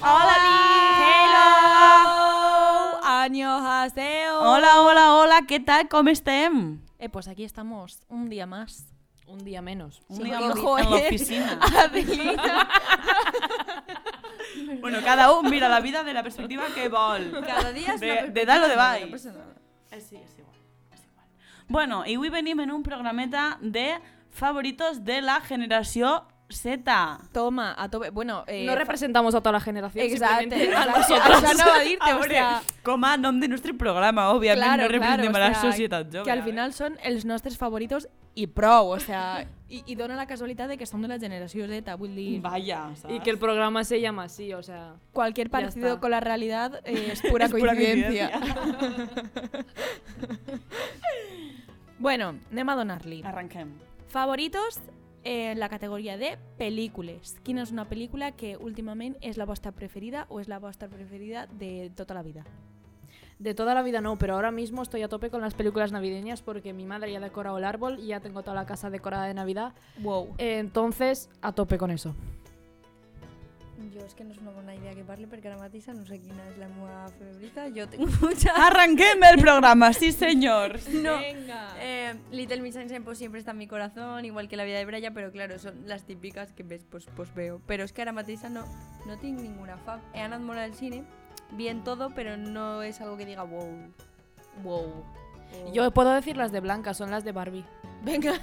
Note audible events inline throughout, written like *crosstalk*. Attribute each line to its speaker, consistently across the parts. Speaker 1: Hola.
Speaker 2: Hello. Annyeonghaseyo.
Speaker 1: Hola, hola, hola, ¿qué tal? ¿Cómo estem?
Speaker 2: Eh, pues aquí estamos un día más.
Speaker 3: Un día menos.
Speaker 1: Un
Speaker 2: Sí, ¿eh?
Speaker 1: día
Speaker 2: porque,
Speaker 1: en la-
Speaker 2: *laughs* joder.
Speaker 1: en la oficina.
Speaker 2: Adelina.
Speaker 1: bueno, cada un mira la vida de la perspectiva que vol. *laughs*
Speaker 2: Cada dia és
Speaker 1: De-
Speaker 2: una
Speaker 1: de dalt o de
Speaker 2: perspectiva
Speaker 1: baix.
Speaker 2: personal.
Speaker 1: Eh, Sí, és igual, és igual. Bueno, i avui venim en un programeta de favoritos de la generació Z.
Speaker 2: Toma, a tope. Bueno, eh,
Speaker 3: no representamos a toda la generación.
Speaker 2: Exacte,
Speaker 3: *laughs* simplemente
Speaker 2: exacte.
Speaker 3: a nosotras.
Speaker 2: Això no va
Speaker 1: *laughs*
Speaker 2: a dir-te,
Speaker 1: A
Speaker 2: o
Speaker 1: veure,
Speaker 2: sea,
Speaker 1: com a nom de nostre programa, òbviament,
Speaker 2: claro,
Speaker 1: no representem
Speaker 2: claro, o
Speaker 1: a la
Speaker 2: sea,
Speaker 1: societat jove.
Speaker 2: Que al
Speaker 1: a veure.
Speaker 2: final són els nostres favoritos i prou, o sea, i, i dona la casualitat de que som de la generació Z, vull dir...
Speaker 1: Vaya, ¿sabes?
Speaker 3: Y que el programa se llama así, o sea.
Speaker 2: Cualquier
Speaker 3: Ya
Speaker 2: parecido
Speaker 3: está.
Speaker 2: con la realidad eh,
Speaker 1: *laughs*
Speaker 2: es pura
Speaker 1: Es pura
Speaker 2: coincidencia. bueno, anem a donar-li.
Speaker 1: *laughs* Arranquem.
Speaker 2: Favoritos en la categoria de pel·lícules. Quina és una pel·lícula que últimament és la vostra preferida o és la vostra preferida de tota la vida?
Speaker 3: De toda la vida no, pero ahora mismo estoy a tope con las películas navideñas porque mi madre ya ha decorado el árbol y ya tengo toda la casa decorada de Navidad.
Speaker 2: Wow.
Speaker 3: Entonces, a tope con eso.
Speaker 4: Jo és que no és una bona idea que parli perquè ara mateix no sé quina és la meva favorita. Jo tinc *laughs* mucha...
Speaker 2: Ah,
Speaker 1: Arranquem el programa, sí senyor.
Speaker 4: No.
Speaker 2: Venga.
Speaker 4: Eh, Little Miss Sunshine pues, siempre está en mi corazón, igual que la vida de Braya, pero claro, son las típicas que ves, pues, pues veo. Pero es que ahora mateix no, no tinc ninguna fa. Eh, He anat molt al cine, bien todo, pero no es algo que diga wow.
Speaker 2: Wow.
Speaker 3: Yo puedo decir las de Blanca, son las de Barbie.
Speaker 2: Venga.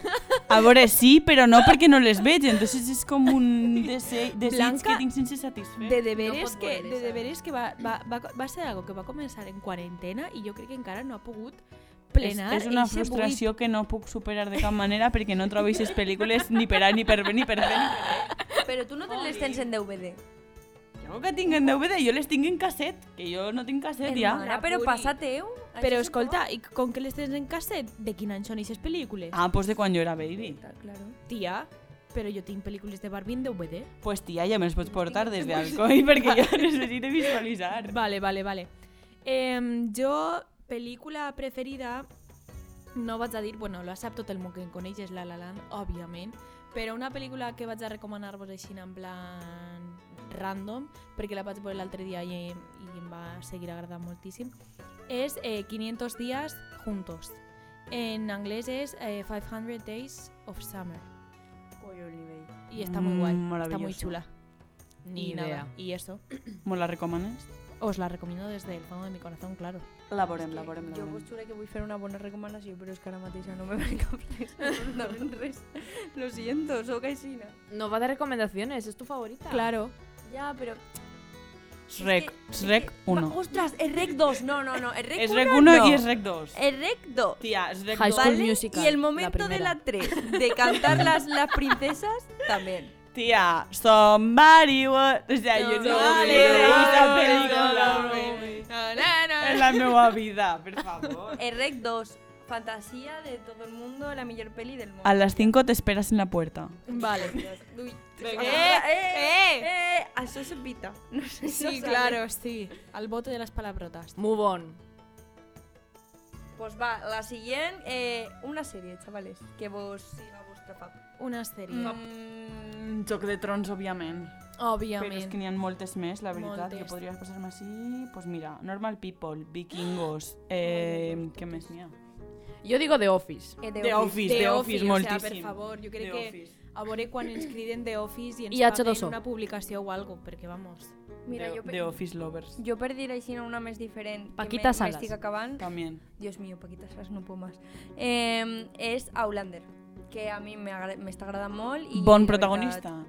Speaker 1: A veure, sí, però no perquè no les veig, entonces és com un dese desig
Speaker 2: Blanca,
Speaker 1: que tinc sense satisfer.
Speaker 2: De deberes
Speaker 4: pot
Speaker 2: que,
Speaker 4: voler,
Speaker 2: de
Speaker 4: saps?
Speaker 2: deberes que va, va, va, va ser algo que va començar en quarantena i jo crec que encara no ha pogut plenar.
Speaker 1: és, és una
Speaker 2: eixe buit.
Speaker 1: frustració que no puc superar de cap manera perquè no trobo aquestes pel·lícules ni per A, ni per B, ni per C, ni per E.
Speaker 4: Pero tú no te les tens en DVD.
Speaker 1: Jo que tinc en DVD, jo les tinc en casset, que jo no tinc casset ja.
Speaker 4: Hermana, però
Speaker 2: Puri.
Speaker 4: passa-teu.
Speaker 2: Però escolta, i com que les tens en casset, de quin any són aquestes pel·lícules?
Speaker 1: Ah, pues de quan jo era baby.
Speaker 4: Claro.
Speaker 2: Tia, però jo tinc pel·lícules de Barbie en DVD.
Speaker 1: Pues tia, ja me les pots portar des d'Alcoi perquè *laughs* jo necessito visualitzar.
Speaker 2: Vale, vale, vale. Eh, jo, pel·lícula preferida, no vaig a dir, bueno, la sap tot el món que en coneix, és La La Land, òbviament, però una pel·lícula que vaig a recomanar-vos així en plan random, perquè la vaig veure l'altre dia i, i em va seguir agradant moltíssim, és eh, 500 dies juntos. En anglès és eh, 500 Days of Summer. Y está muy guay,
Speaker 1: Mm,
Speaker 2: está muy
Speaker 1: maravilloso.
Speaker 2: chula.
Speaker 3: Ni
Speaker 2: y nada,
Speaker 3: idea.
Speaker 2: y eso.
Speaker 1: ¿Me la recomanes?
Speaker 2: Os la recomiendo desde el fondo de mi corazón, claro.
Speaker 1: La veurem,
Speaker 4: Jo
Speaker 1: la veurem. La
Speaker 4: Jo vos
Speaker 1: veurem.
Speaker 4: juré que vull fer una bona recomanació, però és que ara mateix no me ve cap res, absolutament res. Lo siento, soc aixina.
Speaker 3: No va de recomendaciones, es tu favorita.
Speaker 2: Claro.
Speaker 4: Ja, però...
Speaker 1: Shrek, Shrek 1.
Speaker 4: Ostres, és Rec 2, no, no, no, és Rec
Speaker 1: Es
Speaker 4: 1
Speaker 1: Rec 1
Speaker 4: no. Eh,
Speaker 1: y es Rec 2.
Speaker 4: És Rec 2.
Speaker 1: Tía, es Rec
Speaker 3: High
Speaker 1: 2.
Speaker 3: School Musical,
Speaker 4: y el
Speaker 3: la
Speaker 4: momento de
Speaker 3: primera.
Speaker 4: la 3, de cantar las, las princesas, también.
Speaker 1: Tía, somebody what... O sea, yo no
Speaker 4: Somebody
Speaker 1: me veis la
Speaker 4: what-
Speaker 1: película.
Speaker 4: Somebody.
Speaker 1: En la nueva vida, por favor.
Speaker 4: És Rec 2, fantasía de todo el mundo, la millor peli del món.
Speaker 1: A las 5 te esperas en la puerta.
Speaker 2: Vale.
Speaker 4: Ui,
Speaker 1: Venga.
Speaker 4: eh, eh, eh, eh, això se pita. No sé si
Speaker 2: Sí,
Speaker 4: ho
Speaker 2: claro, sí. Al bote de las palabrotas.
Speaker 3: Move on.
Speaker 4: Pues va, la siguiente, eh, una serie, chavales, que vos siga vuestra pap.
Speaker 2: Una serie.
Speaker 1: Mm, Joc de Trons, òbviament. Però és
Speaker 2: Obviamente.
Speaker 1: que n'hi ha moltes més, la veritat,
Speaker 2: Moltes.
Speaker 1: que podries passar-me així... Doncs pues mira, Normal People, Vikingos... Eh, què més n'hi ha?
Speaker 3: Yo digo The Office.
Speaker 4: Eh,
Speaker 1: The Office, The Office,
Speaker 2: o sea,
Speaker 1: moltíssim.
Speaker 2: per favor, jo crec
Speaker 1: The
Speaker 2: que
Speaker 1: Office.
Speaker 2: a veure quan
Speaker 1: *coughs*
Speaker 2: ens criden The Office i ens
Speaker 3: I
Speaker 2: paguen
Speaker 3: H2O.
Speaker 2: una publicació o algo, perquè vamos.
Speaker 4: Mira,
Speaker 1: The,
Speaker 4: yo,
Speaker 1: The Office Lovers.
Speaker 4: yo perdí la Isina una mes diferente. que
Speaker 3: Paquita
Speaker 4: me-
Speaker 3: Salas.
Speaker 4: Me estic acabant.
Speaker 1: También.
Speaker 4: Dios mío, Paquita Salas, no puedo más. Eh, es Outlander, que a mí me, agra- me está agradando molt. Y
Speaker 1: Bon
Speaker 4: la
Speaker 1: protagonista.
Speaker 4: verdad-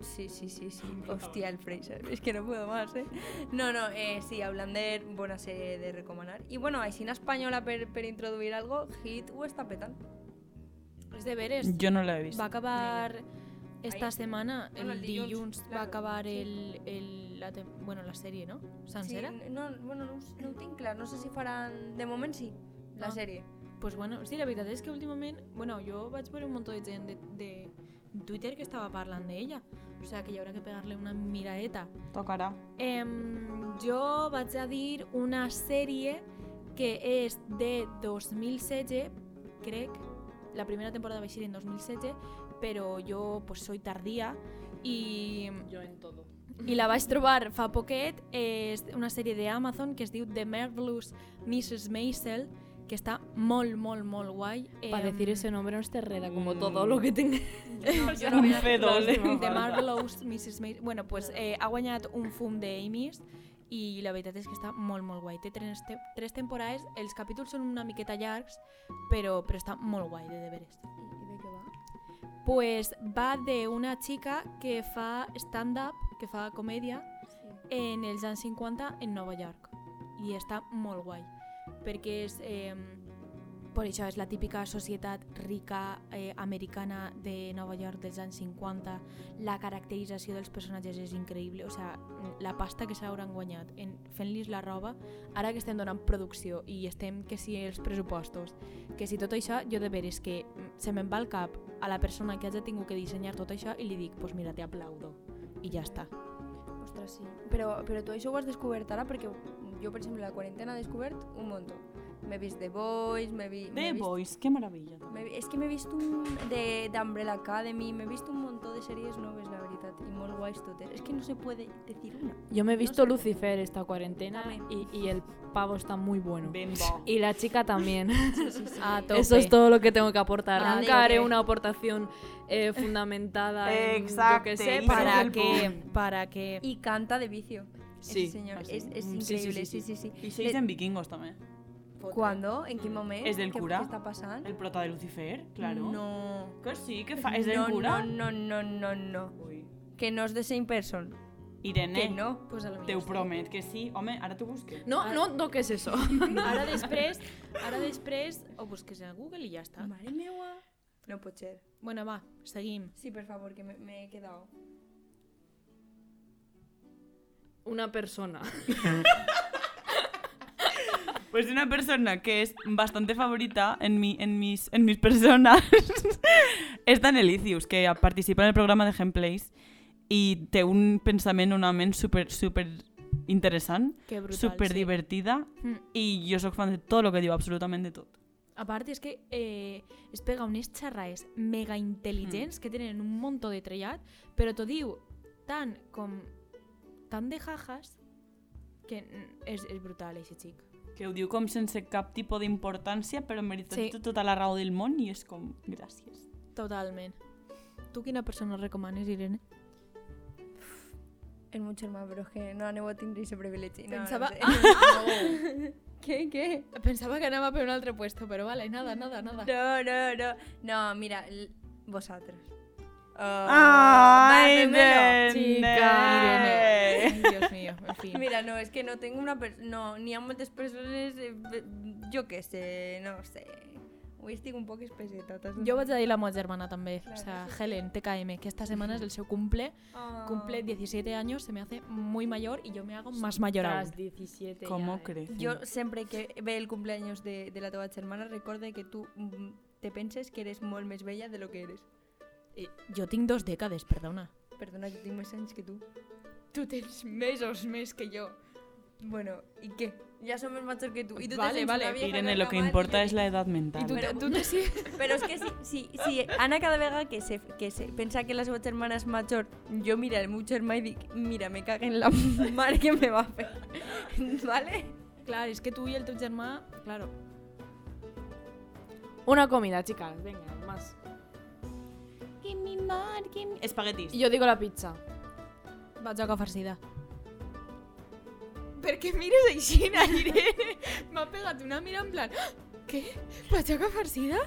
Speaker 4: sí, sí, sí, sí. Hostia, el Fraser. *laughs* Es que no puedo más, ¿eh? No, no, eh, sí, Outlander, buena serie de recomendar. Y bueno, Isina española, per, per introducir algo, Hit o está petando.
Speaker 2: Els deberes.
Speaker 1: Jo no l'he vist.
Speaker 2: Va acabar esta setmana,
Speaker 4: Bueno,
Speaker 2: el
Speaker 4: el dilluns,
Speaker 2: dilluns, va
Speaker 4: claro,
Speaker 2: acabar
Speaker 4: sí.
Speaker 2: el, el, la, tem- bueno, la sèrie, no?
Speaker 4: Sí,
Speaker 2: Sencera?
Speaker 4: n- no, bueno, no, ho s- no ho tinc clar, no sé si faran... De moment sí, la
Speaker 2: Ah.
Speaker 4: sèrie.
Speaker 2: Pues bueno, sí, la veritat és que últimament, bueno, jo vaig veure un munt de gent de, de Twitter que estava parlant d'ella. O sea, que hi haurà que pegar-li una miradeta.
Speaker 1: Tocarà.
Speaker 2: Em, jo vaig a dir una sèrie que és de 2016, crec, la primera temporada va ser en 2016, però jo pues, soy tardía i
Speaker 3: Yo en todo.
Speaker 2: I la vaig trobar fa poquet, eh, és una sèrie d'Amazon que es diu The Marvelous Mrs. Maisel, que està molt, molt, molt guai.
Speaker 3: Para
Speaker 2: Em,
Speaker 3: decir ese nombre no es terrera, como todo lo que tenga.
Speaker 1: Yo no me doble.
Speaker 2: The Marvelous Mrs. Maisel. Bueno, pues, eh, ha guanyat un fum d'Amis i la veritat és que està molt, molt guai. Té tres, te tres temporades, els capítols són una miqueta llargs, però, però està molt guai, de deberes.
Speaker 4: ¿Y de qué va?
Speaker 2: Pues va de una chica que fa stand-up, que fa comèdia, en els anys 50 en Nova York i està molt guai perquè és eh, per això és la típica societat rica eh, americana de Nova York dels anys 50 la caracterització dels personatges és increïble o sigui, la pasta que s'hauran guanyat en fent-los la roba ara que estem donant producció i estem que si els pressupostos que si tot això jo de veres que mm, se me'n va al cap a la persona que hagi tingut que dissenyar tot això i li dic, pues mira, te aplaudo i ja està
Speaker 4: Ostres, sí. Però, però tu això ho has descobert ara perquè jo, per exemple, la quarantena he descobert un muntó. M'he vist The Boys, m'he vi, m'he
Speaker 1: The
Speaker 4: vist...
Speaker 1: Boys, qué maravilla.
Speaker 4: m'he vi- és que m'he vist un de d'Umbrella Academy, m'he vist un muntó de sèries noves, la veritat, i molt guais totes. És que no se puede decir una.
Speaker 3: Yo me he visto
Speaker 4: sé.
Speaker 3: Lucifer esta cuarentena y,
Speaker 4: También.
Speaker 3: y el pavo está muy bueno.
Speaker 1: Bimbo.
Speaker 3: Y la chica también.
Speaker 4: Sí, sí, sí.
Speaker 2: a tope.
Speaker 3: Eso es todo lo que tengo que aportar.
Speaker 4: Ah, digo
Speaker 3: Nunca haré
Speaker 4: que-
Speaker 3: una aportación eh, fundamentada en, yo
Speaker 1: Exacte,
Speaker 3: que sé,
Speaker 1: y
Speaker 3: para
Speaker 2: para
Speaker 1: el
Speaker 2: que para que
Speaker 4: I canta de vicio.
Speaker 3: Sí.
Speaker 4: Ese señor.
Speaker 1: así.
Speaker 4: Es, es
Speaker 3: Mm, sí, sí,
Speaker 4: increíble,
Speaker 3: sí,
Speaker 4: sí, sí, sí.
Speaker 1: Y seis
Speaker 4: Le-
Speaker 1: en vikingos también.
Speaker 4: ¿Cuándo? ¿En qué momento?
Speaker 1: ¿Es del
Speaker 4: ¿Qué,
Speaker 1: cura?
Speaker 4: ¿Qué está pasando?
Speaker 1: El prota de Lucifer, claro.
Speaker 4: No.
Speaker 1: Que sí, que fa... es del
Speaker 4: no,
Speaker 1: cura.
Speaker 4: No, no, no, no, no.
Speaker 1: Ui.
Speaker 4: Que no es de same person.
Speaker 1: Irene,
Speaker 4: Que no.
Speaker 2: pues a lo
Speaker 1: te
Speaker 2: millor.
Speaker 1: ho promet que sí. Home, ara t'ho
Speaker 4: *laughs*
Speaker 1: busques.
Speaker 3: No, no, no, ¿qué es eso? *laughs*
Speaker 2: Ara després, ara després ho busques a Google i ja està.
Speaker 4: Mare meva. No pot ser.
Speaker 2: Bueno, va, seguim.
Speaker 4: Sí, por favor, que me, me he quedado.
Speaker 3: Una persona.
Speaker 1: Pues una persona que es bastante favorita en, mi, en, mis, en mis personas *laughs* es Dan Elicius, que participa en el programa de Gameplays i té un pensament, una ment super, super interessant,
Speaker 2: Que brutal.
Speaker 1: super divertida
Speaker 2: Mm.
Speaker 1: i jo sóc fan de tot el que diu, absolutament de tot.
Speaker 2: A part, és que eh, es pega unes xerraes mega intel·ligents que tenen un muntó de trellat, però t'ho diu tant com tant de jajas que mm, és, és brutal, aquest xic.
Speaker 1: Que ho diu com sense cap tipus d'importància, però merita
Speaker 2: Sí.
Speaker 1: sí. tota la raó del món i és com, gràcies.
Speaker 2: Totalment. Tu quina persona recomanes, Irene?
Speaker 4: Es mucho más, pero es que no, no tendré ese privilegio. No,
Speaker 2: Pensaba-
Speaker 4: *laughs* No, no. ¿Qué, qué?
Speaker 2: Pensava que anava per un altre puesto, però vale, nada, nada, nada.
Speaker 4: No, no, no. No, mira, l- vosotros. Oh, dámelo.
Speaker 1: Irene. *laughs*
Speaker 2: Irene. Dios mío, en fin.
Speaker 4: Mira, no, es que no tengo una per- No, ni a muchas personas. eh, ve- yo qué sé, no sé. Hoy estoy un poco espeseta. ¿t'has
Speaker 2: Jo
Speaker 4: donat?
Speaker 2: vaig a dir la meva germana també,
Speaker 4: Clar
Speaker 2: o
Speaker 4: que
Speaker 2: sea,
Speaker 4: sí.
Speaker 2: Helen, TKM, que esta semana es el seu cumple,
Speaker 4: Ah.
Speaker 2: cumple 17 años, se me hace muy mayor y yo me hago más mayor aún.
Speaker 3: Tras 17 ya,
Speaker 1: Com ho
Speaker 3: eh.
Speaker 1: crees?
Speaker 4: Yo siempre que ve el cumpleaños de, de la teva hermana recorde que tú mm, te penses que eres molt més bella de lo que eres.
Speaker 2: Eh, Jo tinc dos dècades, perdona.
Speaker 4: Perdona, yo tengo más años que tú.
Speaker 2: Tu tens mesos més que jo.
Speaker 4: Bueno, ¿y qué? Ya somos machos que tú. Y tú
Speaker 2: Vale,
Speaker 4: te sents
Speaker 2: vale.
Speaker 4: una vieja
Speaker 1: Irene, lo que
Speaker 4: normal
Speaker 1: importa
Speaker 4: i
Speaker 1: és
Speaker 4: jo
Speaker 1: la edat mental.
Speaker 2: I tu,
Speaker 4: Però-
Speaker 2: tu te sí.
Speaker 4: dic- Pero es que si, si, si Ana cada vega que se, que se pensa que las ocho hermanas mayor, yo mira el mucho hermano y dic, mira, me caga en la *laughs* madre que me va a hacer. *laughs* ¿Vale?
Speaker 2: Clar, és que tu i el teu germà, claro.
Speaker 3: Una comida, chicas, venga, más.
Speaker 1: Espaguetis.
Speaker 3: Y yo digo la pizza.
Speaker 2: Vaig a farcida. Per què mires així, Irene? *laughs* M'ha pegat una mira en plan... "Ah, Què? Patxoca farcida?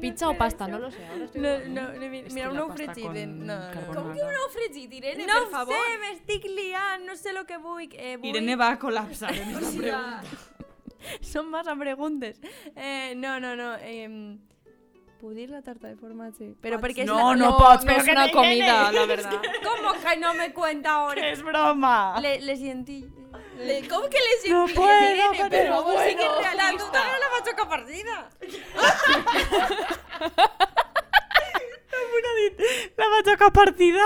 Speaker 3: Pizza o pasta, no lo sé. Ahora estoy
Speaker 4: No,
Speaker 3: igual,
Speaker 4: no, no, mira,
Speaker 1: És
Speaker 4: mira
Speaker 1: que
Speaker 4: un
Speaker 1: la
Speaker 4: nou
Speaker 1: pasta
Speaker 4: fregit.
Speaker 1: con
Speaker 4: eh, No, no,
Speaker 1: carbonara. Com que un
Speaker 4: nou fregit, Irene,
Speaker 2: per favor?
Speaker 4: sé, m'estic liant, no sé lo que vull. Eh, vull...
Speaker 1: Irene va a colapsar
Speaker 4: *laughs*
Speaker 1: en
Speaker 4: o
Speaker 1: esta
Speaker 4: sigui,
Speaker 1: pregunta.
Speaker 4: Són massa preguntes. Eh, no, no, no. Eh, puc dir la tarta de formatge? Però perquè és
Speaker 1: No,
Speaker 4: la...
Speaker 1: no, pots, pero que te llenes. *laughs*
Speaker 4: ¿Cómo que no me cuenta ahora?
Speaker 1: ¡Es broma!
Speaker 4: Le, le sentí... Ah. Le...
Speaker 2: Com que les
Speaker 1: No
Speaker 2: enviaré,
Speaker 1: puedo,
Speaker 2: Irene?
Speaker 1: pero
Speaker 2: favor,
Speaker 1: bueno.
Speaker 2: sí que és
Speaker 4: La
Speaker 2: realista.
Speaker 4: doctora la va tocar partida.
Speaker 1: La batxoca partida!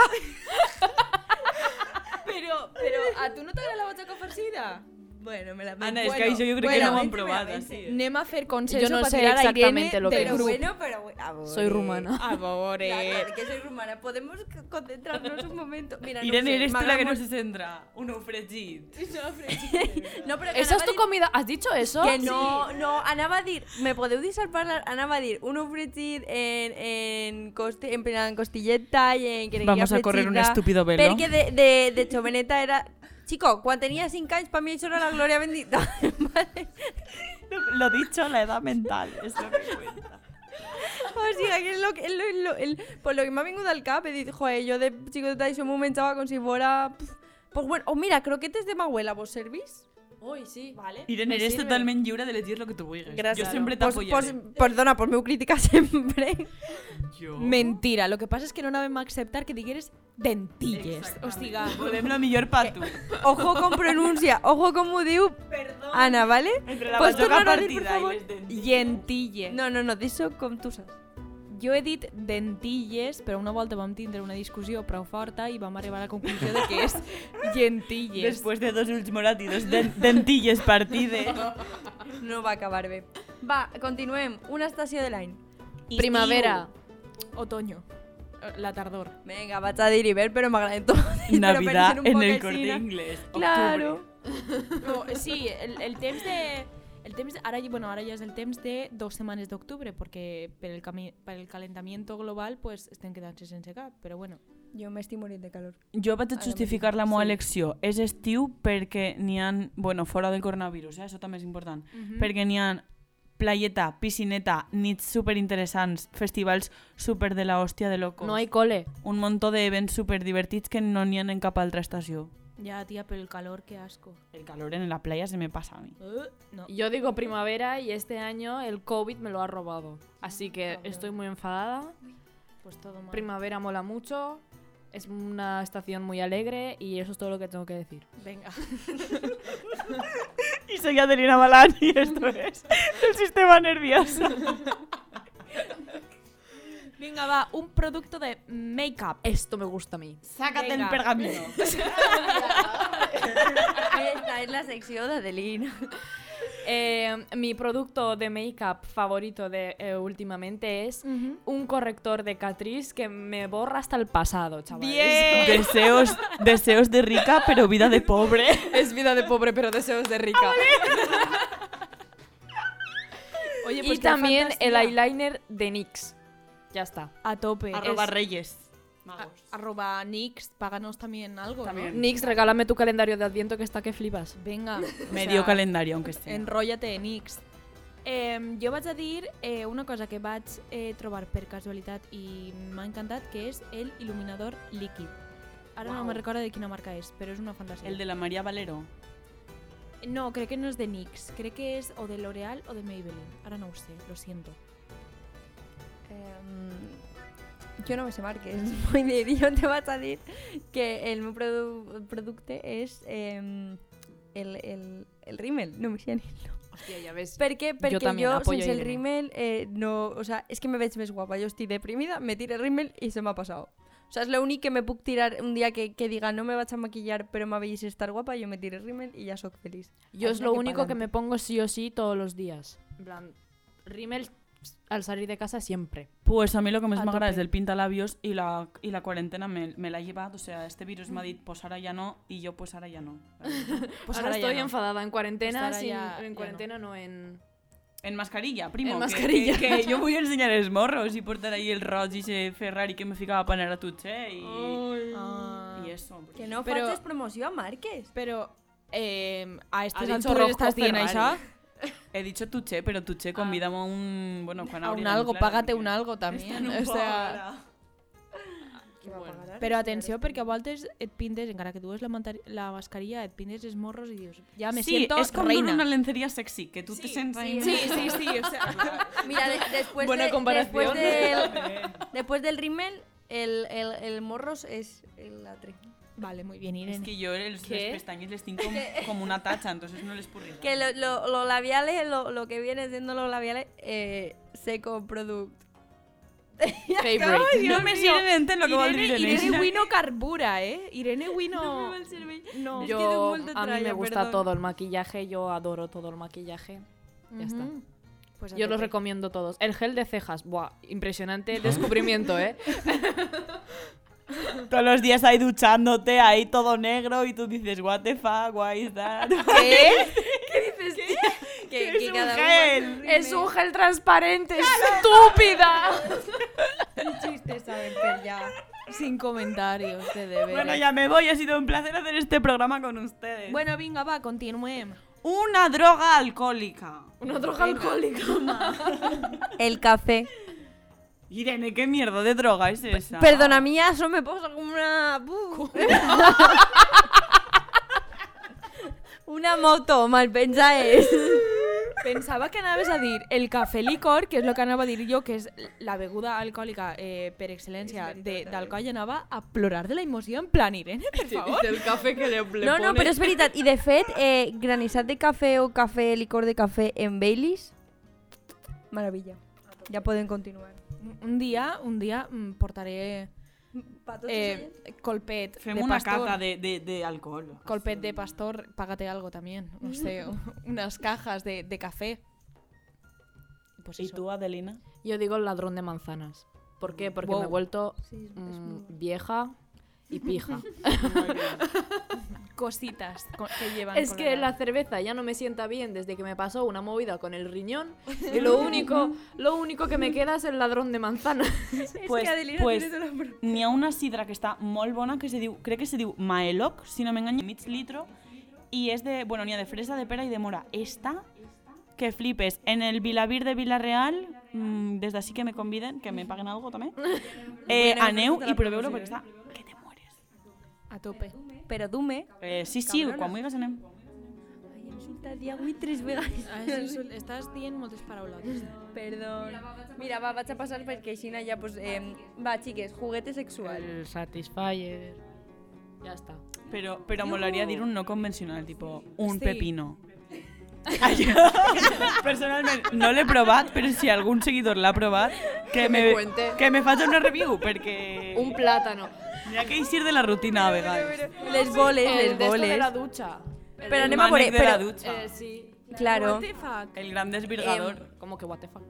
Speaker 2: Però, però a tu no t'agrada la batxaca farcida?
Speaker 4: Bueno, me la
Speaker 1: Ana, és que això jo crec que no ho han provat, així, eh?
Speaker 2: Anem a fer consens
Speaker 3: Jo no
Speaker 2: para
Speaker 3: sé
Speaker 2: tirar a Irene
Speaker 3: exactamente lo que
Speaker 2: del
Speaker 3: es.
Speaker 4: Pero
Speaker 2: grupo.
Speaker 4: bueno, pero bueno. a
Speaker 3: Soy
Speaker 4: ver.
Speaker 3: rumana.
Speaker 2: A favor,
Speaker 4: Ya, claro que soy rumana. Podemos c- concentrarnos un momento. Mira, no
Speaker 1: Irene,
Speaker 4: sé,
Speaker 1: eres tú la que no
Speaker 4: m'agafo-
Speaker 1: se centra. Un ofregit.
Speaker 4: No, pero
Speaker 3: ¿Esa es
Speaker 4: anava
Speaker 3: tu
Speaker 4: a dir-
Speaker 3: comida? ¿Has dicho eso?
Speaker 4: Que no, no, anava a dir, me podeu deixar parlar? Anava a dir un ofregit en, en, coste, en, plan costilleta i en... que
Speaker 1: Vamos a correr un estúpido velo.
Speaker 4: Perquè de, de, de joveneta era... Chico, quan tenia 5 anys, per mi això era la glòria bendita. *laughs* vale?
Speaker 1: Lo dicho, la edad mental. Es lo *laughs* que cuenta.
Speaker 4: O sigui, que és lo, que- és lo, és lo, el, pues lo que m'ha vingut al cap, he dit, joder, jo de xicoteta això m'ho menjava com si fora... pf, Pues bueno, o mira, croquetes de ma abuela, vos servís?
Speaker 3: Uy, sí. Vale.
Speaker 1: Irene, eres totalment lliure de elegir lo que tu vulguis.
Speaker 4: Gràcies.
Speaker 1: Jo sempre
Speaker 4: Pues,
Speaker 1: t'apoyaré.
Speaker 4: pues, perdona, pues meu crítica *laughs* sempre.
Speaker 1: Jo...
Speaker 2: Mentira, lo que pasa es que no vam acceptar que digueres dentilles.
Speaker 1: Exactament.
Speaker 2: Hostiga.
Speaker 1: Volem lo millor pa tu.
Speaker 4: Eh, Ojo con pronuncia, ojo com ho diu Ana, ¿vale? Pues
Speaker 1: Entre la
Speaker 4: Pots
Speaker 1: batzoca
Speaker 4: tornar a dir, per
Speaker 1: partida i
Speaker 4: favor?
Speaker 1: les dentilles.
Speaker 2: Yentilles.
Speaker 4: No, no, no, d'això com tu saps.
Speaker 2: Jo he dit dentilles, però una volta vam tindre una discussió prou forta i vam arribar a la conclusió de *laughs* que és gentilles.
Speaker 1: Després de dos ulls morats i dos den- dentilles partides. *laughs*
Speaker 4: No va acabar bé. Va, continuem. Una estació de l'any.
Speaker 3: Primavera.
Speaker 2: Otoño. eh, La tardor.
Speaker 4: Venga, vaig a dir hivern, però m'agrada tot. *laughs*
Speaker 1: Navidad
Speaker 4: Però pensant un
Speaker 1: en
Speaker 4: poc
Speaker 1: el
Speaker 4: així,
Speaker 1: corte
Speaker 4: no?
Speaker 1: inglés.
Speaker 4: Claro.
Speaker 2: *laughs* No, sí, el, el temps de... El temps, ara, bueno, ara ja és el temps de dues setmanes d'octubre, perquè per el, cami, per el calentamiento global pues, estem quedant-se sense cap, però bueno.
Speaker 4: Jo m'estic morint de calor.
Speaker 1: Jo vaig a
Speaker 4: Ara
Speaker 1: justificar la
Speaker 4: mateix,
Speaker 1: meva
Speaker 4: sí.
Speaker 1: elecció. És estiu perquè n'hi han, bueno, fora del coronavirus, eh? això també és important,
Speaker 4: Mhm.
Speaker 1: perquè n'hi han playeta, piscineta, nits superinteressants, festivals super de la hòstia de locos.
Speaker 3: No hay cole.
Speaker 1: Un muntó d'events super divertits que no n'hi ha en cap altra estació.
Speaker 2: Ja, tia, pel calor, que asco.
Speaker 1: El calor en la playa se me pasa a mi.
Speaker 2: Uh, no.
Speaker 3: Yo digo primavera y este año el COVID me lo ha robado. Así que estoy muy enfadada.
Speaker 2: Pues todo mal.
Speaker 3: Primavera mola mucho. Es una estación muy alegre y eso es todo lo que tengo que decir.
Speaker 4: *laughs*
Speaker 2: Venga.
Speaker 1: *laughs* Y soy Adelina Balán y esto es el sistema nervioso.
Speaker 2: Venga, va, un producto de make-up.
Speaker 3: Ah, Esto me gusta a mí.
Speaker 1: Sácate
Speaker 2: Venga.
Speaker 1: el *laughs* pergamino.
Speaker 4: Esta és la secció d'Adelina.
Speaker 3: Eh, mi producto de make-up favorito de eh, últimamente es
Speaker 2: Ujú.
Speaker 3: un corrector de Catrice que me borra hasta el pasado,
Speaker 2: Ah,
Speaker 3: chavales. *laughs*
Speaker 1: Eh. Deseos, deseos de rica, pero vida de pobre.
Speaker 3: Es vida de pobre, pero deseos de rica.
Speaker 2: *laughs* Oye, pues
Speaker 3: y
Speaker 2: qué
Speaker 3: también el
Speaker 2: fantasía.
Speaker 3: eyeliner de NYX. Ya está.
Speaker 2: A tope.
Speaker 1: Arroba
Speaker 2: Es-
Speaker 1: reyes. Ah,
Speaker 2: a- arroba Nix, páganos también algo. ¿no?
Speaker 1: También.
Speaker 3: NYX, regálame tu calendario de adviento que está que flipas.
Speaker 2: *laughs* Venga. o
Speaker 1: Medio
Speaker 2: sea,
Speaker 1: calendario, aunque sea.
Speaker 2: Enròllate, Nix. Eh, jo vaig a dir eh, una cosa que vaig eh, trobar per casualitat i m'ha encantat, que és el il·luminador líquid. Ara no
Speaker 3: Uau.
Speaker 2: me recordo de quina marca és, però és una fantasia.
Speaker 1: El de la María Valero.
Speaker 2: No, crec que no és de NYX. Crec que és o de L'Oreal o de Maybelline. Ara no ho sé, lo siento.
Speaker 4: Eh, Em, jo no me sé marques. *laughs* Vull dir, jo te vaig a dir que el meu produ producte és eh, el, el, el rímel, no me sé ni
Speaker 3: ya ves.
Speaker 4: Per què? Perquè jo,
Speaker 3: també apoyo
Speaker 4: sense el
Speaker 3: Irene.
Speaker 4: rímel eh, no... O sea, és que me veig més guapa. Jo estic deprimida, me tiro el rímel i se m'ha passat. O sea, és l'únic que me puc tirar un dia que, que diga no me vaig a maquillar però me veig estar guapa, jo me tiro el rímel i ja sóc feliç.
Speaker 3: Yo es
Speaker 4: Anda
Speaker 3: lo
Speaker 4: que
Speaker 3: único que
Speaker 4: pa'lante.
Speaker 3: me pongo sí o sí todos los días. En plan, rímel al salir de casa siempre.
Speaker 1: Pues a mí lo que más
Speaker 2: A
Speaker 1: me agrada
Speaker 2: tope.
Speaker 1: es el pintalabios y la, y la cuarentena me, me la ha llevado. O sea, este virus me ha dicho, pues ahora ya no, y yo, pues ahora ya no.
Speaker 3: Pues
Speaker 2: ahora
Speaker 3: ahora,
Speaker 2: ya
Speaker 3: estoy
Speaker 2: no.
Speaker 3: enfadada en cuarentena,
Speaker 2: Ahora
Speaker 3: sin-
Speaker 2: ya- ya
Speaker 3: en
Speaker 2: no.
Speaker 3: cuarentena no. en
Speaker 1: En mascarilla, primo.
Speaker 3: En
Speaker 1: que-
Speaker 3: mascarilla.
Speaker 1: Que,
Speaker 2: *laughs*
Speaker 1: que yo voy a enseñar es morros y portar ahí el rojo y ese Ferrari que me ficaba para la tuche y,
Speaker 3: Mm,
Speaker 2: Ah.
Speaker 1: y eso. pues.
Speaker 4: Que no
Speaker 2: Però-
Speaker 4: però... facis promoció a marques.
Speaker 2: Però eh, a
Speaker 3: Ha
Speaker 2: estes
Speaker 3: dicho
Speaker 2: altures
Speaker 3: Rosco
Speaker 2: estàs dient
Speaker 3: Ferrari.
Speaker 2: això?
Speaker 1: He dicho tuche, pero tuche convidamos a un. Bueno, cuando
Speaker 2: Ah. A un
Speaker 1: abrieran,
Speaker 2: algo,
Speaker 1: claro,
Speaker 2: págate un
Speaker 1: porque
Speaker 2: algo també.
Speaker 1: están un
Speaker 2: O
Speaker 1: poco
Speaker 2: sea,
Speaker 1: ahora.
Speaker 2: però atenció, perquè a voltes et pintes, encara que dues la, mantari- la mascarilla, et pintes els morros i dius, ja me
Speaker 1: Sí,
Speaker 2: siento
Speaker 1: es como
Speaker 2: reina.
Speaker 1: una lencería sexy, que tú te sientas ahí.
Speaker 2: Sí, sí, sí,
Speaker 1: *laughs*
Speaker 2: o sea, *laughs*
Speaker 4: Mira, de, después,
Speaker 3: Buena
Speaker 4: de,
Speaker 3: comparación.
Speaker 4: después del, después del rímel, el, el, el morros es el atre.
Speaker 2: vale, muy bien,
Speaker 1: Es
Speaker 2: Irene.
Speaker 1: que yo el-
Speaker 3: ¿Qué?
Speaker 1: las pestañas les tengo como, como una tacha, entonces no les purrí. *laughs*
Speaker 4: Que lo, lo, lo *laughs* labiales, lo, lo que viene siendo los labiales, eh, seco product.
Speaker 3: *laughs* Favorite.
Speaker 1: No me sirve en lo que vol dir
Speaker 2: Irene, Irene
Speaker 1: l'Elena.
Speaker 2: Wii no carbura, ¿eh?
Speaker 1: *laughs*
Speaker 2: Irene Wii no... No.
Speaker 4: Es que doy
Speaker 3: Yo,
Speaker 4: molta
Speaker 3: a mí me
Speaker 4: tralla,
Speaker 3: gusta
Speaker 4: perdón.
Speaker 3: todo el maquillaje, yo adoro todo el maquillaje. Ya está.
Speaker 2: Ujú. Pues a
Speaker 3: Yo los
Speaker 2: tope.
Speaker 3: recomiendo todos. El gel de cejas, buah, *laughs* impresionante descubrimiento, ¿eh?
Speaker 1: Todos los días ahí duchándote, ahí todo negro, y tú dices, what the fuck, why is that?
Speaker 2: *laughs*
Speaker 4: *laughs* ¿Qué? ¿Qué dices? Que,
Speaker 1: Que es
Speaker 4: que
Speaker 1: un
Speaker 4: cada
Speaker 1: gel.
Speaker 4: uno hace
Speaker 3: es un gel *laughs* transparente, estúpida.
Speaker 4: remake. Un chiste, ¿saben? Pero ya.
Speaker 2: Sin comentarios, te debe.
Speaker 1: bueno, ya me voy, ha sido un placer hacer este programa con ustedes.
Speaker 2: Bueno, venga, va, continuemos.
Speaker 1: Una droga alcohólica.
Speaker 3: Una droga alcohólica.
Speaker 4: El café.
Speaker 1: Irene, ¿qué mierda de droga es esa?
Speaker 4: Perdona mía, eso me puso como una. *laughs* una moto, mal pensáis.
Speaker 2: Pensava que anaves a dir el cafè licor, que és el que anava a dir jo, que és la beguda alcohòlica eh, per excel·lència
Speaker 1: eh.
Speaker 2: de- d'alcohol, i anava a plorar de la emoció en plan Irene, per
Speaker 3: *laughs*
Speaker 2: favor.
Speaker 3: El café que le, le
Speaker 4: No, no,
Speaker 3: pone.
Speaker 4: pero es verdad. Y de fet, eh, granizat de café o café, licor de café en Baileys. Maravilla. Ya pueden continuar.
Speaker 2: Un dia, un dia mm, portaré eh, colpet
Speaker 1: Fem
Speaker 2: de
Speaker 1: una
Speaker 2: pastor.
Speaker 1: cata de, de, de alcohol.
Speaker 2: Colpet de pastor, págate algo también. No *laughs* sé, unas cajas de, de café. Y Pues
Speaker 1: ¿Y
Speaker 2: eso.
Speaker 1: tú, Adelina?
Speaker 2: *laughs*
Speaker 3: Yo digo el ladrón de manzanas. ¿Por qué? Porque me he
Speaker 2: Wow.
Speaker 3: vuelto
Speaker 4: Sí, es- es
Speaker 3: mm,
Speaker 4: muy bueno.
Speaker 3: vieja y
Speaker 4: *laughs*
Speaker 3: pija.
Speaker 2: Cositas co- que llevan.
Speaker 3: Es que la
Speaker 2: coloradas.
Speaker 3: cerveza ya no me sienta bien desde que me pasó una movida con el
Speaker 4: *laughs*
Speaker 3: riñón y lo único, lo único que me queda es el ladrón de manzana. *laughs*
Speaker 4: *laughs*
Speaker 1: Pues- pues- N'hi ha una sidra que està molt bona que se diu, crec que se diu Maeloc, si no m'enganyo, mig litro, i és de, bueno, n'hi ha de fresa, de pera i de mora. Esta, que flipes, en el Vilavir de Vilareal, mm, des d'ací que me conviden, que me paguen algo també, eh, aneu i proveu-lo perquè està que te mueres.
Speaker 2: A tope.
Speaker 4: Pero dume.
Speaker 1: Eh, sí, sí, quan vulguis anem.
Speaker 4: Ay, insulta dia avui tres vegades.
Speaker 2: Ah, Estás bien moltes paraulotes.
Speaker 4: Perdón. Mira, va, vaig a passar perquè Xina ja,
Speaker 3: Ah,
Speaker 4: pues, eh, va, xiques, juguete sexual.
Speaker 3: Satisfyer. Ya está.
Speaker 1: Però, però molaria dir un no convencional, tipo un
Speaker 2: Sí.
Speaker 1: pepino. *laughs* Això, personalment, no l'he provat, però si algun seguidor l'ha provat, que,
Speaker 3: Que me cuente.
Speaker 1: que me faci una review, perquè...
Speaker 3: Un plátano.
Speaker 1: Hi ha que eixir de la rutina a vegades.
Speaker 4: Les boles,
Speaker 3: Ah, El
Speaker 4: les
Speaker 3: de esto de
Speaker 4: boles.
Speaker 3: la ducha. El
Speaker 4: Però
Speaker 1: El
Speaker 4: anem a
Speaker 1: mànec
Speaker 4: veure,
Speaker 1: de la
Speaker 4: però...
Speaker 1: dutxa.
Speaker 3: Eh, sí.
Speaker 4: Claro.
Speaker 2: What the fuck?
Speaker 1: El gran desvirgador.
Speaker 3: Como que what the fuck.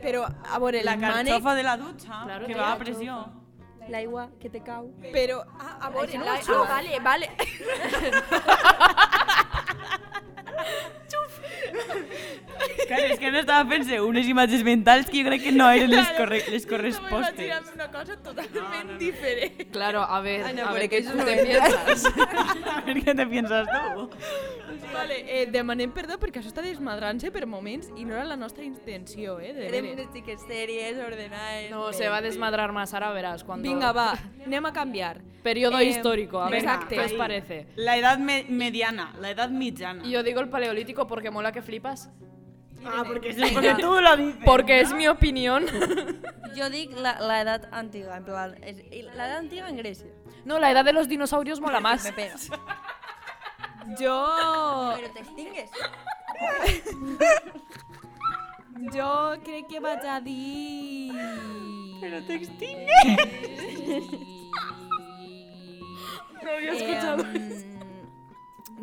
Speaker 2: Pero, a ver, el
Speaker 1: la
Speaker 2: mànec...
Speaker 1: carxofa de la dutxa,
Speaker 3: Claro,
Speaker 1: que
Speaker 3: tía,
Speaker 1: va a
Speaker 3: yo-
Speaker 1: pressió. *laughs*
Speaker 4: L'aigua que te cau.
Speaker 2: Pero, ah, a veure, la-
Speaker 3: xuf.
Speaker 2: ah, vale, vale.
Speaker 1: Clar, és que no estava fent-se unes imatges mentals que jo crec que no eren les, corre les
Speaker 2: Estava imaginant
Speaker 1: correspostes.
Speaker 2: una cosa totalment diferent.
Speaker 3: *laughs* Claro, a ver,
Speaker 4: Ay, no,
Speaker 3: a
Speaker 4: pero
Speaker 3: ver
Speaker 4: que
Speaker 3: qué
Speaker 4: eso no
Speaker 3: te
Speaker 4: me
Speaker 3: piensas.
Speaker 1: *laughs* A veure què te penses tu.
Speaker 2: Vale, eh, demanem perdó perquè això està desmadrant-se per moments i no era la nostra intenció, eh, de
Speaker 4: Érem
Speaker 2: veres.
Speaker 4: unes xiques sèries, ordenades...
Speaker 3: No, se va a desmadrar más, ahora verás cuando.
Speaker 2: Vinga, va, anem a canviar.
Speaker 3: Periodo
Speaker 2: Eh,
Speaker 3: histórico, a ver
Speaker 2: exacte.
Speaker 3: qué os parece.
Speaker 1: La edat me mediana, la edat mitjana.
Speaker 3: Y yo digo el paleolítico porque mola que flipas.
Speaker 1: Ah, porque, sí, porque tú lo dices.
Speaker 3: *laughs* Porque es mi opinión.
Speaker 4: Jo dic la- l'edat antiga, en plan... és- i L'edat antiga en Grècia.
Speaker 3: No, la edad de los dinosaurios mola más.
Speaker 4: Me pegas.
Speaker 2: Jo...
Speaker 4: Però t'extingues.
Speaker 2: Jo crec que vaig a dir... Però t'extingues!
Speaker 3: No había
Speaker 2: Em,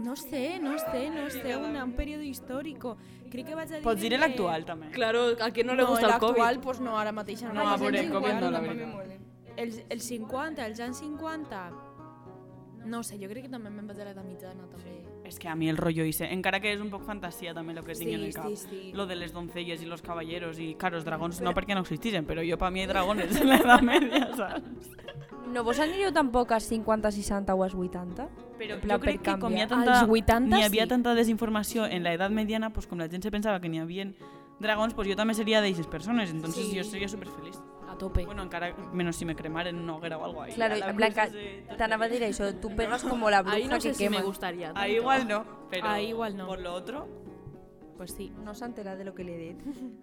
Speaker 2: no sé, no sé, no sé, una, un período histórico. Crec que vaig a dir...
Speaker 3: Pues
Speaker 1: Pots dir
Speaker 2: entre-
Speaker 1: l'actual, també.
Speaker 3: *laughs* Claro, ¿a quién no le gusta el
Speaker 2: l'actual,
Speaker 3: COVID?
Speaker 2: pues no, ara mateix.
Speaker 1: No, a veure,
Speaker 2: mateix.
Speaker 1: Covid no, la
Speaker 4: També
Speaker 1: veritat.
Speaker 4: me mola.
Speaker 2: Els, els 50, els anys 50... No ho sé, jo crec que també me'n vaig a l'edat mitjana, també.
Speaker 1: És que a mi el rotllo hice, encara que és un poc fantasia també el que tinc
Speaker 2: Sí,
Speaker 1: en el
Speaker 2: sí,
Speaker 1: cap.
Speaker 2: sí.
Speaker 1: Lo de les doncellas i los caballeros i, claro, els dragons no perquè no existissin, però jo pa mi hi ha dragones en l'edat media, *laughs* saps?
Speaker 4: No vos anireu tampoc als 50, 60 o als 80?
Speaker 1: Però
Speaker 4: En
Speaker 1: jo
Speaker 4: plan, per
Speaker 1: crec que com hi ha
Speaker 4: canviar.
Speaker 1: tanta,
Speaker 2: Als 80
Speaker 1: hi havia
Speaker 2: sí.
Speaker 1: tanta desinformació en la edat mediana, pues, com la gent se pensava que n'hi havia dragons, pues, jo també seria d'aquestes persones, entonces
Speaker 2: Sí.
Speaker 1: jo seria superfeliç.
Speaker 2: A tope.
Speaker 1: Bueno, encara menys si me cremaren en una hoguera o algo ahí.
Speaker 4: Claro,
Speaker 1: a la
Speaker 4: Blanca,
Speaker 1: bruja se-
Speaker 4: t'anava a dir això,
Speaker 1: *laughs*
Speaker 4: tu pegas como la bruja
Speaker 3: Ahí no sé
Speaker 4: que
Speaker 3: si
Speaker 4: quema.
Speaker 3: me gustaría.
Speaker 1: Ahí igual no, pero
Speaker 2: Ah, Ahí igual no.
Speaker 1: por lo otro,
Speaker 2: Pues sí.
Speaker 4: No s'ha enterat de lo que li he dit.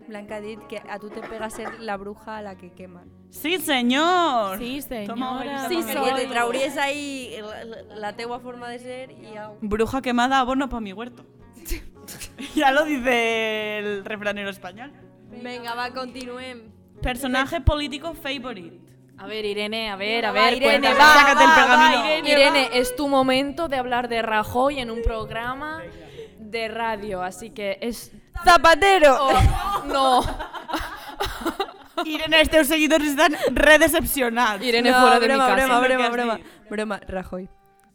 Speaker 4: Blanca ha dit que a tu te pega ser la bruja a la que queman.
Speaker 1: Sí, señor.
Speaker 2: Sí,
Speaker 1: Toma,
Speaker 2: senyora.
Speaker 1: Marisa,
Speaker 2: Sí,
Speaker 1: toma.
Speaker 4: Perquè
Speaker 2: soy.
Speaker 4: te trauries ahí la, la- la teua forma de ser i au.
Speaker 1: Bruja quemada, abono para mi huerto. ya lo dice el refranero español.
Speaker 4: Vinga, va, continuem.
Speaker 1: Personaje político favorite.
Speaker 3: A ver, Irene, a ver, a
Speaker 4: Va,
Speaker 3: ver,
Speaker 4: Irene,
Speaker 3: cuéntame.
Speaker 4: va,
Speaker 1: Sácate el
Speaker 4: va,
Speaker 1: pergamino.
Speaker 4: va, Irene,
Speaker 3: Irene,
Speaker 4: va.
Speaker 3: es tu momento de hablar de Rajoy en un programa de radio, así que es...
Speaker 4: Zapatero.
Speaker 3: No,
Speaker 1: Irene, els teus seguidors estan re decepcionats.
Speaker 3: Irene fuera de mi
Speaker 4: broma,
Speaker 3: casa.
Speaker 4: Broma,
Speaker 1: És el que
Speaker 4: broma,
Speaker 1: has
Speaker 4: broma,
Speaker 1: dit.
Speaker 4: broma. Rajoy.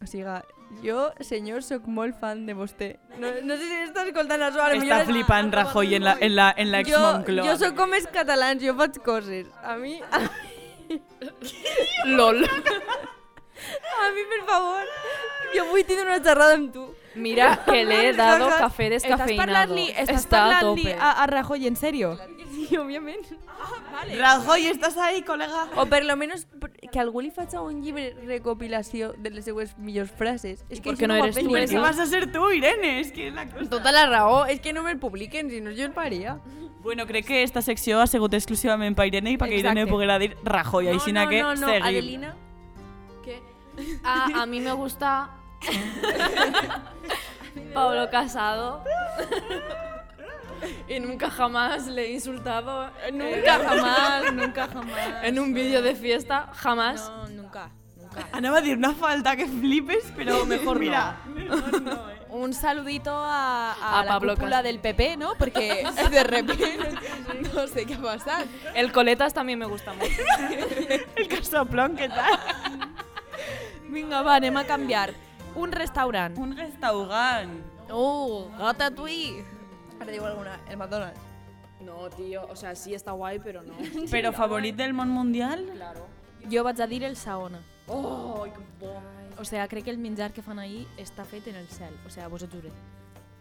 Speaker 4: O siga, jo, senyor, sóc molt fan de vostè. No, no sé si estàs escoltant això, ara millor...
Speaker 1: Està
Speaker 4: és-
Speaker 1: flipant Rajoy en la, en la, en la ex
Speaker 4: jo, jo sóc com els catalans, jo faig coses. A mi, a,
Speaker 3: lol.
Speaker 4: a mi, per favor, jo vull tenir una xerrada amb tu.
Speaker 3: Mira que le he dado café
Speaker 2: Estàs
Speaker 3: descafeinado.
Speaker 2: parlant-li estàs
Speaker 3: Está a
Speaker 2: parlant
Speaker 3: tope.
Speaker 2: a, a Rajoy, en serio?
Speaker 4: Sí, òbviament.
Speaker 1: Rajoy, estàs ahí, col·lega?
Speaker 4: O per lo menos per- que algú li faci un llibre recopilació de les seues millors frases. És Pues que
Speaker 3: per què
Speaker 4: això
Speaker 3: no
Speaker 4: ho ha
Speaker 3: eres
Speaker 4: fet
Speaker 3: tu,
Speaker 4: ningú.
Speaker 1: Però si
Speaker 3: Esa.
Speaker 1: vas a ser tu, Irene, és que és la cosa.
Speaker 4: Tota la raó, és que no me'l publiquen, si no jo el faria.
Speaker 1: Bueno, crec que esta secció ha sigut exclusivament per Irene i perquè Irene
Speaker 4: Exacte.
Speaker 1: poguera dir Rajoy, així no, que seguim.
Speaker 4: Adelina.
Speaker 3: Ah, a mí me gusta Pablo Casado. Y nunca jamás le he insultado. Nunca jamás.
Speaker 2: Nunca, jamás.
Speaker 3: En un vídeo de fiesta, jamás.
Speaker 2: No, nunca, nunca.
Speaker 1: Anava a dir una falta que flipes, però mejor mira. Mejor no, eh.
Speaker 2: Un saludito a, a,
Speaker 3: A
Speaker 2: la
Speaker 3: Pablo
Speaker 2: cúpula
Speaker 3: Castro.
Speaker 2: del PP, ¿no? Porque de repente no sé qué ha pasado.
Speaker 3: El Coletas también me gusta mucho.
Speaker 1: El casoplón, què tal?
Speaker 2: Venga, va, anem a cambiar. Un restaurant.
Speaker 1: Un restaurant.
Speaker 2: Oh, Ratatouille.
Speaker 4: Ara diu alguna, el McDonald's.
Speaker 3: No, tío. O sea, sí está guay, pero no.
Speaker 1: Però favorit del món mundial?
Speaker 3: Claro.
Speaker 2: Jo vaig a dir el Saona.
Speaker 3: Oh, que guai.
Speaker 2: O sea, crec que el menjar que fan ahí està fet en el cel. O sea, vos ho juré.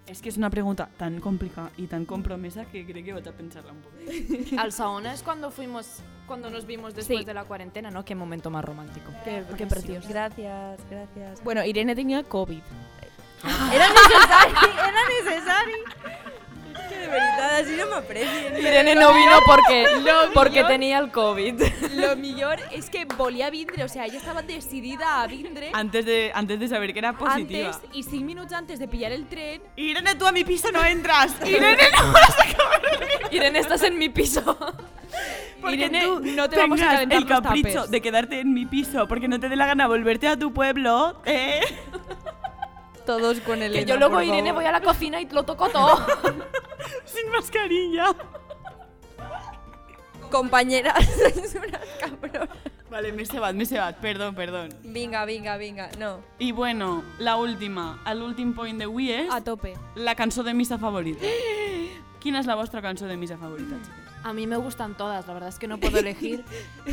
Speaker 1: És que és una pregunta tan complicada i tan compromesa que crec que vaig a pensar-la un poc.
Speaker 3: Al Saona es cuando fuimos, cuando nos vimos después
Speaker 2: Sí.
Speaker 3: de la cuarentena, ¿no? Qué momento más romántico.
Speaker 2: Qué, qué precioso.
Speaker 4: Gracias, gracias.
Speaker 2: Bueno, Irene tenia COVID.
Speaker 4: Era necessari, era necessari. És que de veritat, així no m'aprecien.
Speaker 3: Irene *laughs* no vino porque, porque tenía el *laughs* COVID.
Speaker 2: Lo millor és que volia vindre, o sea, ella estava decidida a vindre
Speaker 1: Antes de, antes de saber que era Ah, positiva.
Speaker 2: antes y cinc minuts antes de pillar el tren
Speaker 1: Irene, tú a mi piso no entras. Irene, no.
Speaker 3: Irene, estás en mi piso.
Speaker 1: Porque
Speaker 2: Irene,
Speaker 1: tú
Speaker 2: no te vamos a
Speaker 1: tengas
Speaker 2: calentar
Speaker 1: el
Speaker 2: los
Speaker 1: capricho
Speaker 2: tapes.
Speaker 1: de quedarte en mi piso porque no te dé la gana volverte a tu pueblo. eh.
Speaker 4: Todos con el
Speaker 3: Que yo luego, Irene, voy a la cocina y lo toco todo.
Speaker 1: Sin mascarilla.
Speaker 4: Compañeras, *laughs* es unas cabronas.
Speaker 1: Vale, me se va, me se va. Perdón, perdón.
Speaker 4: Vinga, vinga, vinga, no.
Speaker 1: Y bueno, la última, el últim point d'avui és
Speaker 2: a tope.
Speaker 1: la cançó de missa favorita. Quina és la vostra cançó de missa favorita, xiques?
Speaker 3: A mí me gustan todas, la verdad es que no puedo *laughs* elegir.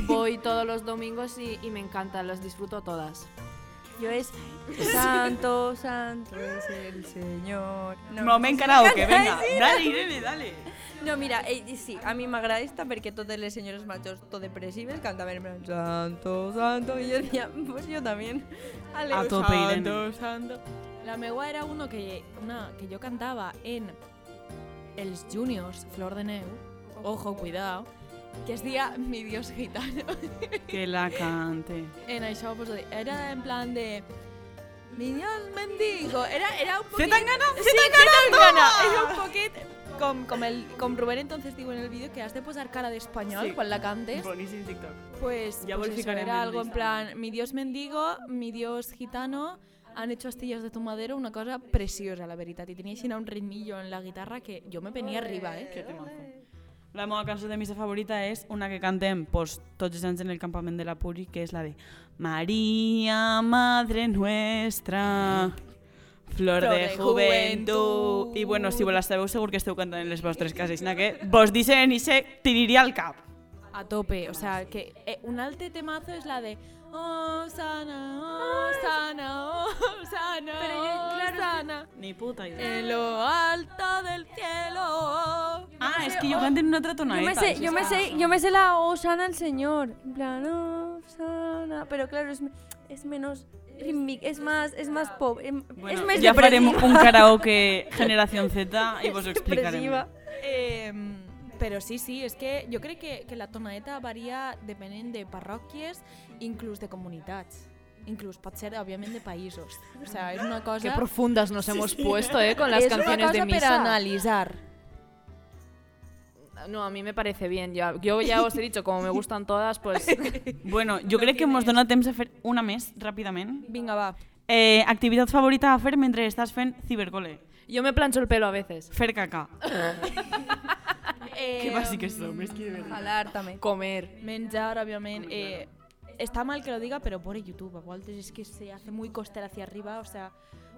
Speaker 3: Voy todos los domingos y, y me encantan, las disfruto todas.
Speaker 4: Yo es santo, santo es el Señor. No,
Speaker 1: Moment *laughs* karaoke, venga. Dale, Irene, dale.
Speaker 4: No, mira, eh, sí, a mi m'agrada esta perquè totes les senyores majors tot depressives cantaven en plan santo, santo, i jo deia, pues jo també. Ale,
Speaker 1: A tope, Irene.
Speaker 4: Santo, santo.
Speaker 2: La meua era uno que, una que yo cantaba en Els Juniors, Flor de Neu, ojo, cuidado, que es deia Mi Dios Gitano.
Speaker 1: Que la cante.
Speaker 2: *laughs* En això, pues, era en plan de... Mi Dios mendigo, era, era un
Speaker 1: ¿Se
Speaker 2: poquet...
Speaker 1: tan gana?
Speaker 2: Sí, Zetangana, Era un poquet com, com, el, com Rubén entonces diu en el vídeo que has de posar cara d'espanyol
Speaker 1: Sí.
Speaker 2: sí. quan la cantes.
Speaker 1: Boníssim TikTok.
Speaker 2: Pues,
Speaker 1: Ya
Speaker 2: pues eso,
Speaker 1: bolsicaré
Speaker 2: era
Speaker 1: mil
Speaker 2: algo en
Speaker 1: risas.
Speaker 2: plan, mi dios mendigo, mi dios gitano, han hecho astillas de tu madero, una cosa preciosa, la veritat. I tenia així un ritmillo en la guitarra que jo me venia arriba,
Speaker 1: Que
Speaker 2: eh?
Speaker 1: temazo. La meva cançó de missa favorita és una que cantem pues, tots els anys en el campament de la Puri, que és la de María, Madre Nuestra, Flor
Speaker 2: Flor
Speaker 1: de
Speaker 2: de
Speaker 1: Juventud. I bueno, si vos la sabeu, segur que esteu cantant en les vostres cases, na que vos dicen i se tiraria al cap.
Speaker 2: A tope, o sea, que eh, un alte temazo és la de Oh, sana, oh, sana, oh, *laughs* sana,
Speaker 4: Pero yo,
Speaker 2: oh,
Speaker 4: claro, es que-
Speaker 2: sana.
Speaker 1: Ni puta
Speaker 4: Eh,
Speaker 1: idea.
Speaker 2: En lo alto del cielo.
Speaker 1: Ah, és que jo canto en una altra
Speaker 4: oh, Yo
Speaker 1: tonadeta.
Speaker 4: me, sé,
Speaker 1: això
Speaker 4: yo,
Speaker 1: és
Speaker 4: me
Speaker 1: que-
Speaker 4: sé, yo me sé la Osana al Señor. En plan, Osana. Pero claro, es, me- es menos rítmico, es más, es más pop. em-
Speaker 1: Bueno,
Speaker 4: es más
Speaker 1: ja farem
Speaker 4: depressiva.
Speaker 1: un karaoke
Speaker 4: *laughs*
Speaker 1: Generación Z i vos ho explicarem.
Speaker 4: Depressiva.
Speaker 2: Em, però sí, sí, és que jo crec que, que la tonadeta varia depenent de parròquies, inclús de comunitats. Inclús pot ser, òbviament, de països. O sea, és una cosa...
Speaker 3: Qué profundas nos hemos puesto, ¿eh? Con
Speaker 2: és
Speaker 3: las
Speaker 2: una
Speaker 3: canciones
Speaker 2: cosa
Speaker 3: de
Speaker 2: per
Speaker 3: misa.
Speaker 2: analitzar.
Speaker 3: No, a mí me parece bien. Ya, yo ya os he dicho, como me gustan todas, *laughs* pues...
Speaker 1: Bueno, jo crec que mos dona temps a fer una més, ràpidament.
Speaker 2: Vinga, va.
Speaker 1: Eh, activitat favorita a fer mentre estàs fent cibercole.
Speaker 3: Yo me plancho el pelo a veces.
Speaker 1: Fer caca.
Speaker 2: Eh,
Speaker 1: Que bàsiques som, és que de veritat.
Speaker 4: Jalar también.
Speaker 3: Comer.
Speaker 2: Menjar, obviamente. eh, está mal que lo diga, pero por YouTube. A Walters es que se hace muy costel hacia arriba. O sea,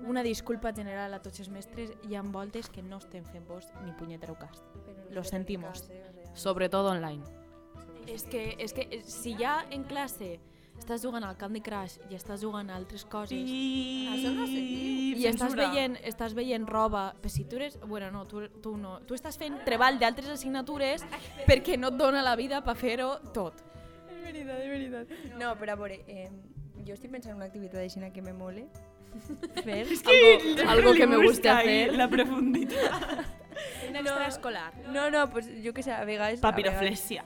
Speaker 2: una disculpa general a tots els mestres i amb voltes que no estem fent vos ni punyetero cas. Lo sentimos.
Speaker 3: Sobre todo *laughs* online.
Speaker 2: És que, és que eh, si ja en classe estàs jugant al Candy Crush i estàs jugant a altres coses
Speaker 1: Això no sé.
Speaker 2: i estàs veient, estàs veient roba, però si tu eres... Bueno, no, tu, tu no. Tu estàs fent treball d'altres assignatures perquè no et dona la vida per fer-ho tot.
Speaker 4: Es verdad, es verdad. No, pero a por, eh, yo estoy pensando en una actividad de Sina que me mole. Fer.
Speaker 3: Algo que me guste hacer.
Speaker 1: La
Speaker 3: *laughs*
Speaker 1: profunditat.
Speaker 2: Un
Speaker 4: extraescolar. No, no, pues yo que sé, a
Speaker 1: *laughs*
Speaker 4: vegades... a vegades-
Speaker 1: Papiroflexia.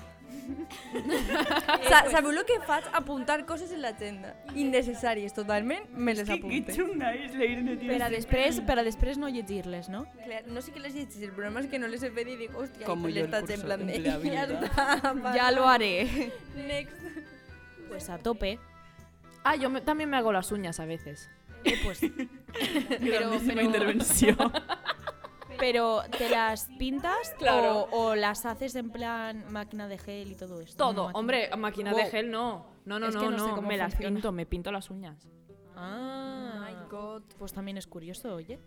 Speaker 4: Sa- Sabeu lo que faig? Apuntar coses en *laughs* l'agenda. Innecessàries totalment, me les
Speaker 1: Que, que
Speaker 4: apunte.
Speaker 1: xunga és la Irene, tio.
Speaker 2: Per a després, per a després no llegir-les, no?
Speaker 4: Clar, no sé què les llegis, el problema és que no les he fet i dic, hòstia,
Speaker 1: Com
Speaker 4: Com
Speaker 1: jo el
Speaker 4: l'estat en
Speaker 1: curso
Speaker 4: plan de... Ja *laughs*
Speaker 1: empleabilidad.
Speaker 4: està,
Speaker 2: Ja lo haré.
Speaker 4: Next.
Speaker 2: Pues a tope.
Speaker 3: Ah, yo me- también me hago las uñas a *laughs* veces.
Speaker 2: Eh, pues,
Speaker 1: Però,
Speaker 2: però-
Speaker 3: *laughs*
Speaker 1: intervenció.
Speaker 2: pero ¿te las pintas
Speaker 3: Claro.
Speaker 2: o, o las haces en plan máquina de gel y todo esto?
Speaker 3: Todo.
Speaker 2: Máquina-
Speaker 3: Hombre, a máquina de
Speaker 2: Wow.
Speaker 3: gel no. No, no,
Speaker 2: Es
Speaker 3: no,
Speaker 2: que
Speaker 3: no,
Speaker 2: no sé cómo
Speaker 3: me las
Speaker 2: funciona.
Speaker 3: pinto, me pinto las uñas.
Speaker 2: Ah,
Speaker 4: My God.
Speaker 2: pues también es curioso, oye.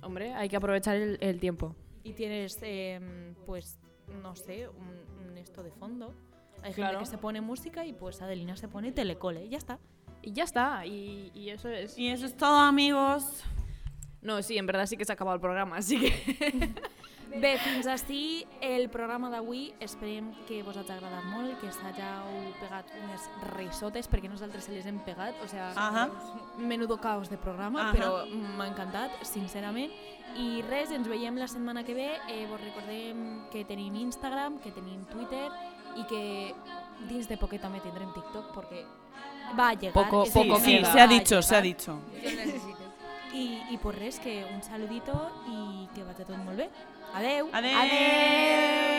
Speaker 3: Hombre, hay que aprovechar el, el tiempo.
Speaker 2: Y tienes, em, pues, no sé, un, un esto de fondo. Hay
Speaker 3: Claro.
Speaker 2: gente que se pone música y pues Adelina se pone telecole, ya está.
Speaker 3: Y ya está, y, y eso es...
Speaker 1: I eso es todo, amigos.
Speaker 3: No, sí, en verdad sí que se ha acabado el programa, así que...
Speaker 2: Bé, fins així el programa d'avui. Esperem que vos hagi agradat molt, que s'hageu pegat unes risotes, perquè nosaltres se les hem pegat. O sea,
Speaker 1: Ahà.
Speaker 2: menudo caos de programa,
Speaker 1: Ahà.
Speaker 2: però m'ha encantat, sincerament. I res, ens veiem la setmana que ve. Eh, vos recordem que tenim Instagram, que tenim Twitter i que dins de poquet també tindrem TikTok, perquè va a llegar.
Speaker 3: Poco-
Speaker 2: és
Speaker 1: Sí,
Speaker 3: poco
Speaker 2: que
Speaker 1: sí,
Speaker 2: va
Speaker 3: queda.
Speaker 1: se ha
Speaker 2: a
Speaker 1: dicho, se ha
Speaker 2: llegar.
Speaker 1: dicho.
Speaker 4: Jo el necessito.
Speaker 2: I, I pues res, que un saludito i que vagi tot molt bé. Adeu!
Speaker 1: Adeu.